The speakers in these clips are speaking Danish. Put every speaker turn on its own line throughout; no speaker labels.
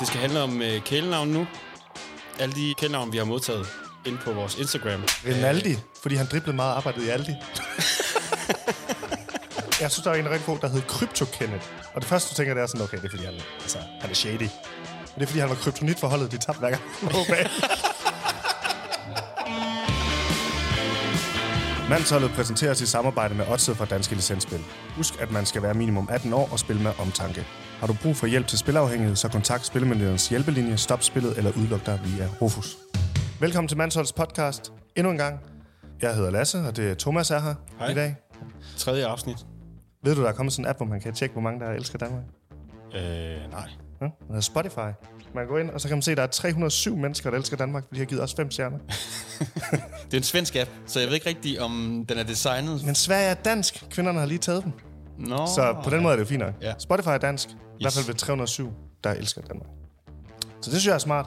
Det skal handle om øh, kælenavn nu. Alle de kælenavn, vi har modtaget ind på vores Instagram.
Rinaldi, fordi han driblede meget og arbejdede i Aldi. jeg synes, der var en rigtig god, der hed Crypto Kenneth. Og det første, du tænker, det er sådan, okay, det er fordi, han, altså, han er shady. Men det er fordi, han var kryptonit for holdet, de tabte hver gang. han var på banen. Mandsholdet præsenteres i samarbejde med Odset fra Danske Licensspil. Husk, at man skal være minimum 18 år og spille med omtanke. Har du brug for hjælp til spilafhængighed, så kontakt Spillemyndighedens hjælpelinje, stop spillet eller udluk dig via Rufus. Velkommen til Mandsholdets podcast endnu en gang. Jeg hedder Lasse, og det er Thomas er her
Hej.
i dag.
Tredje afsnit.
Ved du, der er kommet sådan en app, hvor man kan tjekke, hvor mange der elsker Danmark?
Øh, nej.
Ja? Den hedder Spotify. Man kan gå ind, og så kan man se, at der er 307 mennesker, der elsker Danmark, fordi de har givet os fem stjerner.
Det er en svensk app, så jeg ved ikke rigtigt, om den er designet.
Men Sverige er dansk. Kvinderne har lige taget dem.
Nå,
Så på den måde er det jo fint nok.
Ja.
Spotify er dansk. Yes. I hvert fald ved 307, der elsker Danmark. Så det synes jeg er smart.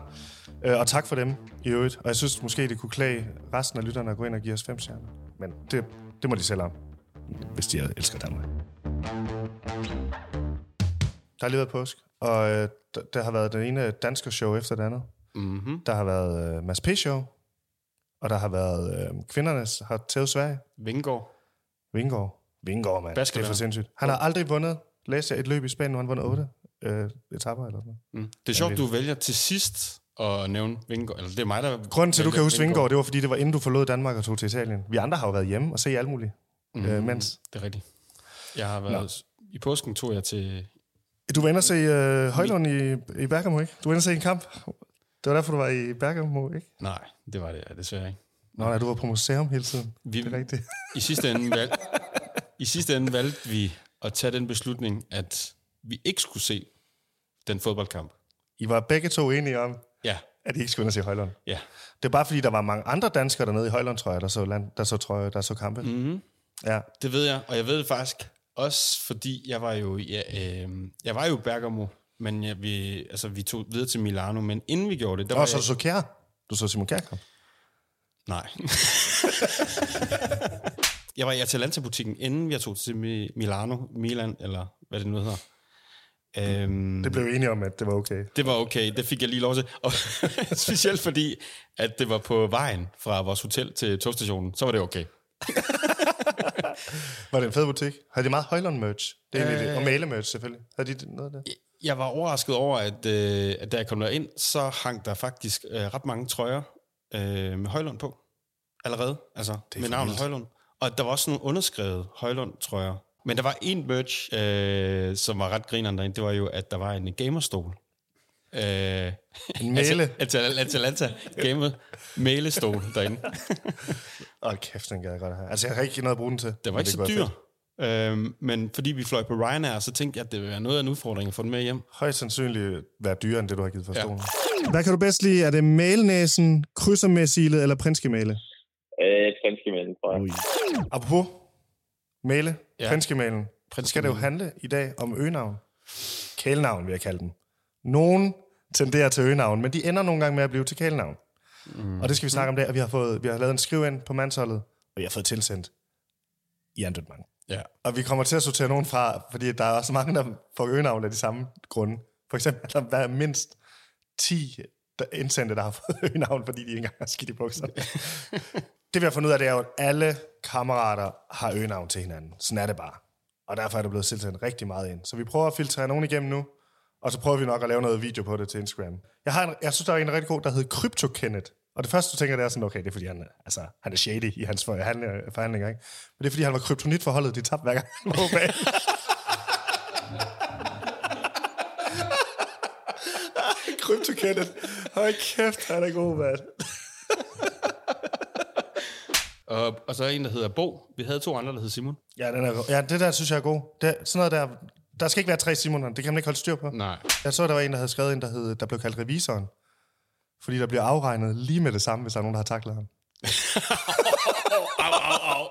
Øh, Og tak for dem i øvrigt. Og jeg synes måske, det kunne klæde resten af lytterne at gå ind og give os fem stjerner. Men det, det må de selv om, hvis de elsker Danmark. Der har lige været påsk, og øh, der, der har været den ene danskershow efter det andet.
Mm-hmm.
Der har været øh, Mads P. Show, og der har været øh, Kvindernes har tævet Sverige.
Vingård.
Vingård. Vingård, mand. Det er
Basketball.
for sindssygt. Han har aldrig vundet, læste jeg, et løb i Spanien, hvor han vandt 8 øh, etapper eller noget.
Mm. Det er sjovt, du vælger til sidst at nævne Vingård. Eller det er mig, der...
Grunden til, at du
vælger
kan huske Vingård, det var, fordi det var inden du forlod Danmark og tog til Italien. Vi andre har jo været hjemme og set alt muligt. Mm. Øh, mens.
Det er rigtigt. Jeg har været... I påsken tog jeg til...
Du var inde og se øh, Højlund i, i Bergamo, ikke? Du var inde og se en kamp. Det var derfor, du var i Bergamo, ikke?
Nej, det var det ja, desværre ikke.
Nå, nej, du var på museum hele tiden.
Vi-
Det er rigtigt.
I sidste ende, valg... I sidste ende valgte vi at tage den beslutning, at vi ikke skulle se den fodboldkamp.
I var begge to enige om,
Ja,
at I ikke skulle ind og se Højlund.
ja.
Det er bare, fordi der var mange andre danskere dernede i Højlund, tror jeg, der så, land, der så, trøje, der så kampe. Mm. Ja,
Det ved jeg, og jeg ved det faktisk også, fordi jeg var jo, ja, øh, jeg var jo i Bergamo, men jeg, vi, altså, vi tog videre til Milano, men inden vi gjorde det, der var
Og så
jeg...
så Kjær. Du så Simon Kjær kom.
Nej. jeg var i Atalanta-butikken, inden jeg tog til Mi- Milano, Milan, eller hvad det nu hedder. Øhm,
Det blev vi enige om, at det var okay.
det var okay, det fik jeg lige lov til. Og specielt fordi, at det var på vejen fra vores hotel til togstationen, så var det okay.
Var det en fed butik? Havde de meget Højlund-merch? Det er egentlig det.
Øh.
Og male-merch selvfølgelig. Havde de noget af det?
Jeg var overrasket over, at, øh, at da jeg kom derind, så hang der faktisk øh, ret mange trøjer øh, med Højlund på. Allerede, altså med navnet Højlund. Og der var også nogle underskrevet Højlund-trøjer. Men der var en merch, øh, som var ret grineren derinde, det var jo, at der var en gamerstol. Øh,
En male.
Atal- Atalanta gamer mælestol derinde.
Åh, kæft, den gad jeg godt have. Altså, jeg har ikke noget at bruge den til.
Den var
men
ikke så
kunne være
dyr.
fedt.
Øhm, men fordi vi fløj på Ryanair, så tænkte jeg, at det ville være noget af en udfordring at få den med hjem.
Højst sandsynligt være dyrere, end det, du har givet for
Ja.
stolen. Hvad kan du bedst lide? Er det malenæsen, krydsermæssilet eller prinskemale?
Øh, svenske mænd, tror jeg.
Apropos male, ja.
Ja.
prinskemalen. Så skal det jo handle i dag om øgenavn. Kælenavn, vil jeg kalde dem. Nogen tenderer til øgenavn, men de ender nogle gange med at blive til kælenavn. Mm. Og det skal vi snakke om i dag, og vi har, fået, vi har lavet en skriv ind på mandsholdet, og jeg har fået tilsendt i andet mange.
Ja.
Og vi kommer til at sortere nogen fra, fordi der er også mange, der får øgenavn af de samme grunde. For eksempel har der været mindst 10 der- indsendte, der har fået øgenavn, fordi de ikke engang har skidt i bukserne. det vi har fundet ud af, det er jo, at alle kammerater har øgenavn til hinanden. Sådan er det bare. Og derfor er der blevet tilsendt rigtig meget ind. Så vi prøver at filtrere nogen igennem nu, og så prøver vi nok at lave noget video på det til Instagram. Jeg, har en, jeg synes, der er en rigtig god, der hedder Crypto Kenneth. Og det første, du tænker, det er sådan, okay, det er fordi, han, er- altså, han er shady i hans forhandlinger, forhandlinger ikke? Men det er fordi, han var kryptonit for holdet, de tabte hver gang, han var på banen. Krypto Kenneth. Hold kæft, han er god, mand.
Og, og så er en, der hedder Bo. Vi havde to andre, der hed Simon.
Ja, den er, god. ja, det der synes jeg er god. Det, sådan noget der, der skal ikke være tre Simoner, det kan man ikke holde styr på.
Nej.
Jeg så, der var en, der havde skrevet en, der, hed, der blev kaldt revisoren. Fordi der bliver afregnet lige med det samme, hvis der er nogen, der har taklet ham.
Au, au, au.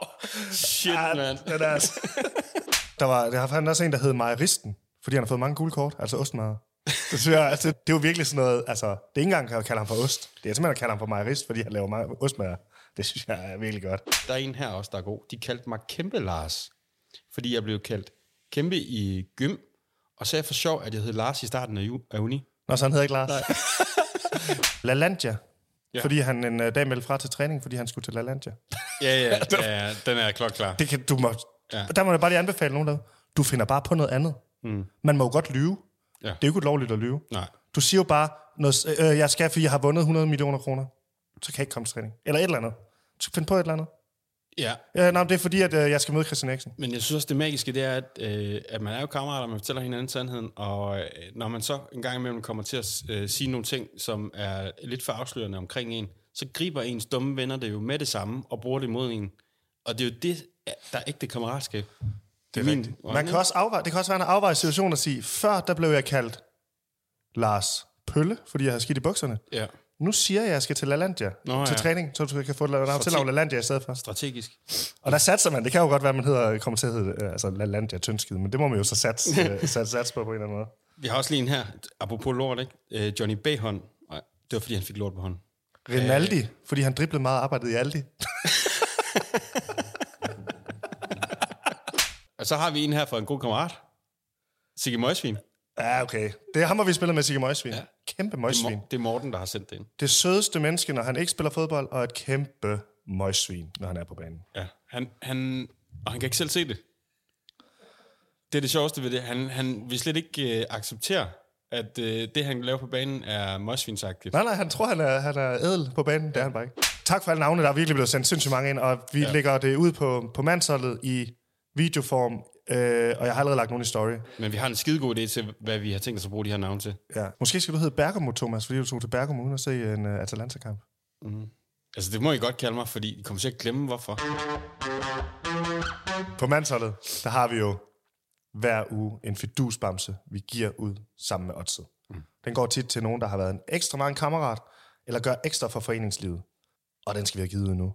Shit, mand.
Den er altså... der var der var fandme også en, der hed Majeristen, fordi han har fået mange gule kort, altså ostmager. Det, synes jeg, altså, det er jo virkelig sådan noget, altså, det er ikke engang at kalde ham for ost. Det er simpelthen at kalde ham for Majerist, fordi han laver meget ostmager. Det synes jeg er virkelig godt.
Der er en her også, der er god. De kaldte mig Kæmpe Lars, fordi jeg blev kaldt Kæmpe i gym. Og så er jeg for sjov, at jeg hed Lars i starten af, ju- af uni.
Nå, så han hedder ikke Lars.
Nej.
LaLandia.
Ja.
Ja. Fordi han en øh, dag meldte fra til træning, fordi han skulle til LaLandia.
Ja, ja, ja, ja, den er klokklar.
Det kan, du må,
Ja.
ja. Der må jeg bare lige anbefale nogen der. Du finder bare på noget andet. Mm. Man må jo godt lyve.
Ja.
Det er jo ikke lovligt at lyve.
Nej.
Du siger jo bare, noget, øh, jeg skal, fordi jeg har vundet 100 millioner kroner. Så kan jeg ikke komme til træning. Eller et eller andet. Du skal finde på et eller andet.
Ja,
Øh, nej, det er fordi, at øh, jeg skal møde Christian Eriksen.
men jeg synes også, det magiske, det er, at, øh, at man er jo kammerater, man fortæller hinanden sandheden, og øh, når man så en gang imellem kommer til at øh, sige nogle ting, som er lidt for afslørende omkring en, så griber ens dumme venner det jo med det samme, og bruger det mod en. Og det er jo det, der er ægte kammeratskab. Det er min
Man kan også afveje, det kan også være en afvejet situation at sige, før der blev jeg kaldt Lars Pølle, fordi jeg havde skidt i bukserne.
Ja,
Nu siger jeg, at jeg skal til LaLandia
Nå,
til
ja.
træning, så du kan få et navn til
Strateg-
LaLandia i stedet for.
strategisk.
Og der satser man. Det kan jo godt være, at man hedder, kommer til at hedde øh, altså LaLandia Tyndskid, men det må man jo så satse, øh, satse, satse på på en eller anden måde.
Vi har også lige en her, apropos lort, ikke? Øh, Johnny Bahon. Nej, det var fordi, han fik lort på hånden.
Rinaldi, fordi han driblede meget og arbejdede i Aldi.
Og så har vi en her fra en god kammerat. Sigge Møgsvin.
Ja, okay. Det er ham, hvor vi spiller med Sigge Møgsvin. Ja. Kæmpe
Det er
møgsvin.
Mor- Det er Morten, der har sendt det ind.
Det sødeste menneske, når han ikke spiller fodbold, og et kæmpe møgsvin, når han er på banen.
Ja. Han, han, og han kan ikke selv se det. Det er det sjoveste ved det. Han, han vil slet ikke øh, acceptere, at øh, det, han laver på banen, er møgsvinsagtigt.
Nej, nej, han tror, han er, han er ædel på banen. Det er han bare ikke. Tak for alle navne, der er virkelig blevet sendt sindssygt mange ind, og vi ja. lægger det ud på, på mandsholdet i videoform, øh, og jeg har allerede lagt nogle i story.
Men vi har en skidegod idé til, hvad vi har tænkt os at bruge de her navne til.
Ja. Måske skal du hedde Bergamo, Thomas, fordi du tog til Bergamo uden at se en uh, Atalanta-kamp.
Altså, det må I godt kalde mig, fordi I kommer til at glemme, hvorfor.
På mandsholdet, der har vi jo hver uge en fidusbamse, vi giver ud sammen med oddset. Mm. Den går tit til nogen, der har været en ekstra meget kammerat, eller gør ekstra for foreningslivet. Og den skal vi have givet ud nu.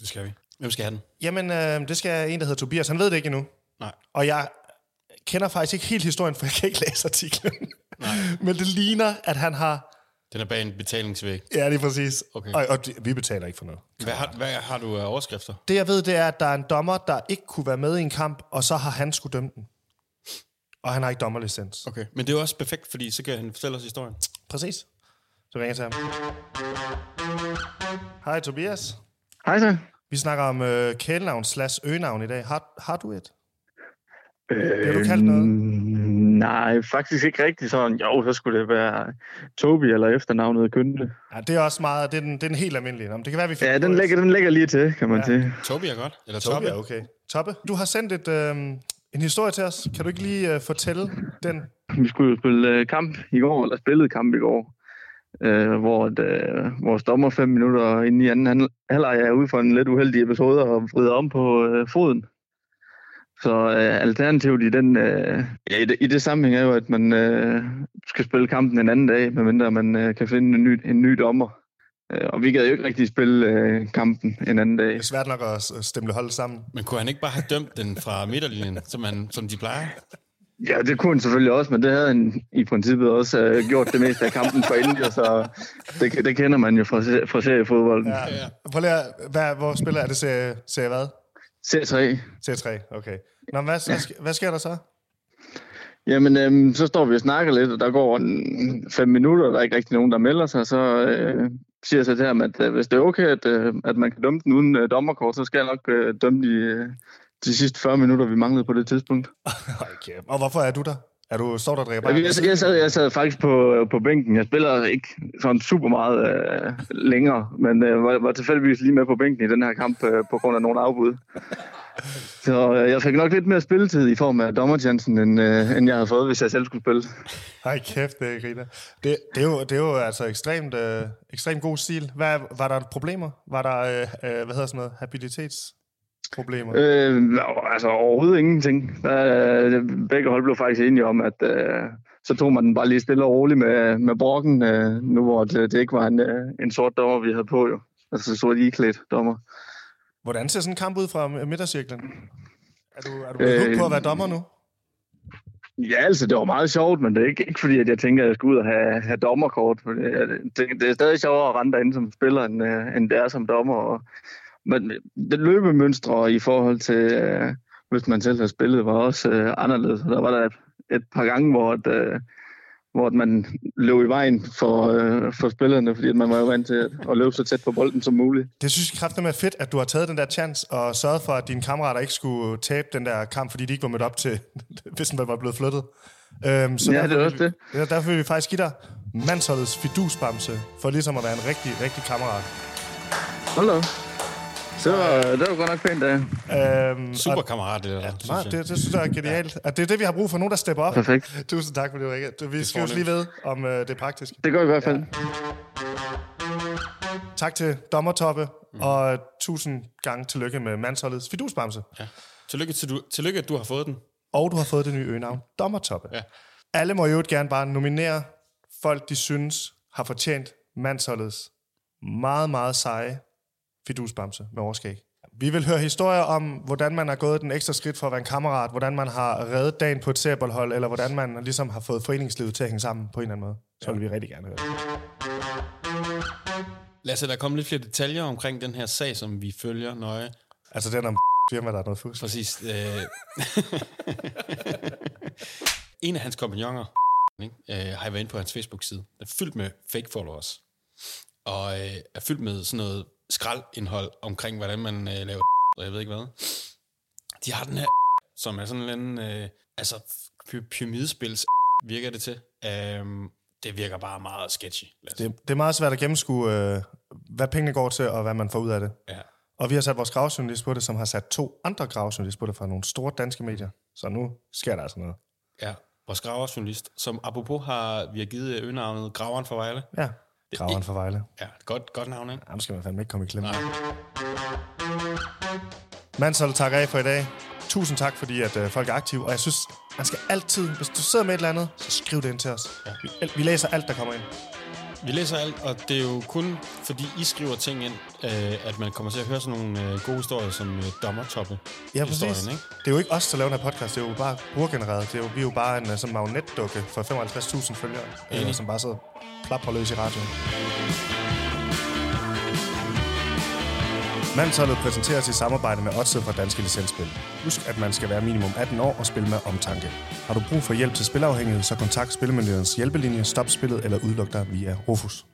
Det skal vi. Hvem skal have den?
Jamen, øh, det skal en, der hedder Tobias. Han ved det ikke endnu.
Nej.
Og jeg kender faktisk ikke helt historien, for jeg kan ikke læse artiklen. Nej. Men det ligner, at han har...
Den er bag en betalingsvæg.
Ja, lige præcis.
Okay.
Og, og de- vi betaler ikke for noget.
Hvad har, hvad har du af overskrifter?
Det, jeg ved, det er, at der er en dommer, der ikke kunne være med i en kamp, og så har han skulle dømme den. Og han har ikke dommerlicens.
Okay. Men det er jo også perfekt, fordi så kan han fortælle os historien.
Præcis. Så ringer jeg til ham. Hej, Tobias.
Hej så.
Vi snakker om øh, kælenavn slash øgenavn i dag. Har, har du et?
Bliver
Øh, du kaldt noget?
Øhm, Nej, faktisk ikke rigtigt sådan. Jo, så skulle det være Tobi eller efternavnet Gynte.
Ja, det er også meget... Det er den, det er den helt almindelige. Nå, men det kan være, vi
Ja,
finder
den
på et.
lægger, den lægger lige til, kan man
Ja.
ja. sige.
Tobi er godt. Eller Tobi.
Toppe, ja, okay. Toppe, du har sendt et, øh, en historie til os. Kan du ikke lige øh, fortælle den?
Vi skulle jo spille øh, kamp i går, eller spillede kamp i går, øh, hvor at, øh, vores dommer fem minutter inde i anden hal- halvleg er ude for en lidt uheldig episode og vrider om på øh, foden. Så øh, alternativet i den øh, ja, i, det, i det sammenhæng er jo, at man øh, skal spille kampen en anden dag, medmindre man øh, kan finde en ny, en ny dommer. Øh, og vi gad jo ikke rigtig spille øh, kampen en anden dag.
Det er svært nok at s- stemple holdet sammen.
Men kunne han ikke bare have dømt den fra midterlinjen, som, han, som de plejer?
Ja, det kunne han selvfølgelig også, men det havde han i princippet også øh, gjort det meste af kampen for inden, så det, det kender man jo fra, se- fra seriefodbolden. Ja.
Ja. Prøv lige at, hvad, hvor spiller er det? Serie, serie hvad?
C3.
Serie 3, okay. Nå, men hvad, hvad, sk- hvad sker der så?
Jamen, øhm, så står vi og snakker lidt, og der går en, fem minutter, og der er ikke rigtig nogen, der melder sig, så øh, siger jeg så til ham, at øh, hvis det er okay, at, øh, at man kan dømme den uden øh, dommerkort, så skal jeg nok øh, dømme de, øh, de sidste 40 minutter, vi manglede på det tidspunkt.
Okay. Og hvorfor er du der? Er du, står der og drikker
Jeg,
bare?
jeg, jeg, sad, jeg sad faktisk på, på bænken. Jeg spiller ikke sådan super meget øh, længere, men øh, var, var tilfældigvis lige med på bænken i den her kamp øh, på grund af nogle afbud. Så øh, jeg fik nok lidt mere spilletid i form af dommerchancen, end, øh, end jeg havde fået, hvis jeg selv skulle spille.
Ej, kæft, det er griner. Det, det, er jo, det er jo altså ekstremt, øh, ekstremt god stil. Hvad, var der problemer? Var der, øh, øh, hvad hedder sådan noget, habilitetsproblemer? Øh.
Øh, altså overhovedet ingenting. Øh, begge hold blev faktisk enige om, at øh, så tog man den bare lige stille og roligt med, med brokken, øh, nu hvor det, det ikke var en, øh, en sort dommer, vi havde på jo. Altså sort iklædt dommer.
Hvordan ser sådan en kamp ud fra midtercirklen? Er du, er du blevet
Øh,
hooked på at være dommer nu?
Ja, altså, det var meget sjovt, men det er ikke, ikke fordi, at jeg tænker, at jeg skal ud og have, have dommerkort. For det, er- det, det er stadig sjovere at rende derinde som spiller, end, øh, end det er som dommer. Og, men det løbemønstre i forhold til, øh, hvis man selv har spillet, var også øh, anderledes. Og Der var der et, et par gange, hvor, at, øh, hvor at man løb i vejen for, øh, for spillerne, fordi at man var jo vant til at, at løbe så tæt på bolden som muligt.
Det synes jeg kraftigt er fedt, at du har taget den der chance og sørget for, at dine kammerater ikke skulle tabe den der kamp, fordi de ikke var mødt op til, hvis den var blevet flyttet. Øhm,
så ja, det er også
vil,
det.
Ja, derfor vil vi faktisk give dig mandsholdets fidusbamse, for ligesom at være en rigtig, rigtig kammerat.
Hold da. Så øh, det var godt nok pænt af.
Øhm, Super kammerat, det der. Ja,
synes nej, det, det synes jeg er genialt. Ja. Og det er det, vi har brug for. Nogen, der stepper op.
Perfekt.
Tusind tak for det, Rikke. Du, vi det skal jo lige ved, om øh, det er praktisk.
Det gør vi i hvert fald. Ja.
Tak til Dommertoppe, mm. og tusind gange tillykke med mandsholdets fidusbamse.
Ja. Tillykke, til du, tillykke, at du har fået den.
Og du har fået det nye øgenavn, Dommertoppe.
Ja.
Alle må jo gerne bare nominere folk, de synes har fortjent mandsholdets meget, meget seje fidusbamse med overskæg. Vi vil høre historier om, hvordan man har gået den ekstra skridt for at være en kammerat, hvordan man har reddet dagen på et serbolhold, eller hvordan man ligesom har fået foreningslivet til at hænge sammen på en eller anden måde. Så ja. vil vi rigtig gerne høre
Lad os der komme lidt flere detaljer omkring den her sag, som vi følger nøje.
Altså den om firma, der er noget fusk.
Præcis. Øh... en af hans kompagnoner ikke, øh, har jeg været inde på hans Facebook-side. Den er fyldt med fake followers. Og øh, er fyldt med sådan noget skraldindhold omkring, hvordan man øh, laver og jeg ved ikke hvad. De har den her, som er sådan en anden, øh, altså py- pyramidespils virker det til. Um, det virker bare meget sketchy.
Det, det er meget svært at gennemskue, øh, hvad pengene går til, og hvad man får ud af det.
Ja.
Og vi har sat vores gravjournalist på det, som har sat to andre gravjournalist på det fra nogle store danske medier. Så nu sker der altså noget.
Ja, vores graverjournalist, som apropos har, vi har givet øh, øgenavnet Graveren fra Vejle.
Ja. Graveren fra Vejle.
Ja, godt, godt navn, ikke?
Jamen skal man fandme ikke komme i klemme. Nej. Mansol takker af for i dag. Tusind tak, fordi at øh, folk er aktive. Og jeg synes, man skal altid, hvis du sidder med et eller andet, så skriv det ind til os. Ja. Vi, vi læser alt, der kommer ind.
Vi læser alt, og det er jo kun fordi I skriver ting ind, øh, at man kommer til at høre sådan nogle øh, gode historier som øh, dommertoppe.
Ja, præcis. Ikke? Det er jo ikke os, der laver den her podcast. Det er jo bare brugergenereret. Det er jo, vi er jo bare en sådan magnetdukke for 55.000 følgere, øh, mm. som bare sidder plapper løs i radioen. Mandsholdet præsenteres i samarbejde med Odset fra Danske Licensspil. Husk, at man skal være minimum 18 år og spille med omtanke. Har du brug for hjælp til spilafhængighed, så kontakt Spillemyndighedens hjælpelinje, stop spillet eller udluk dig via Rufus.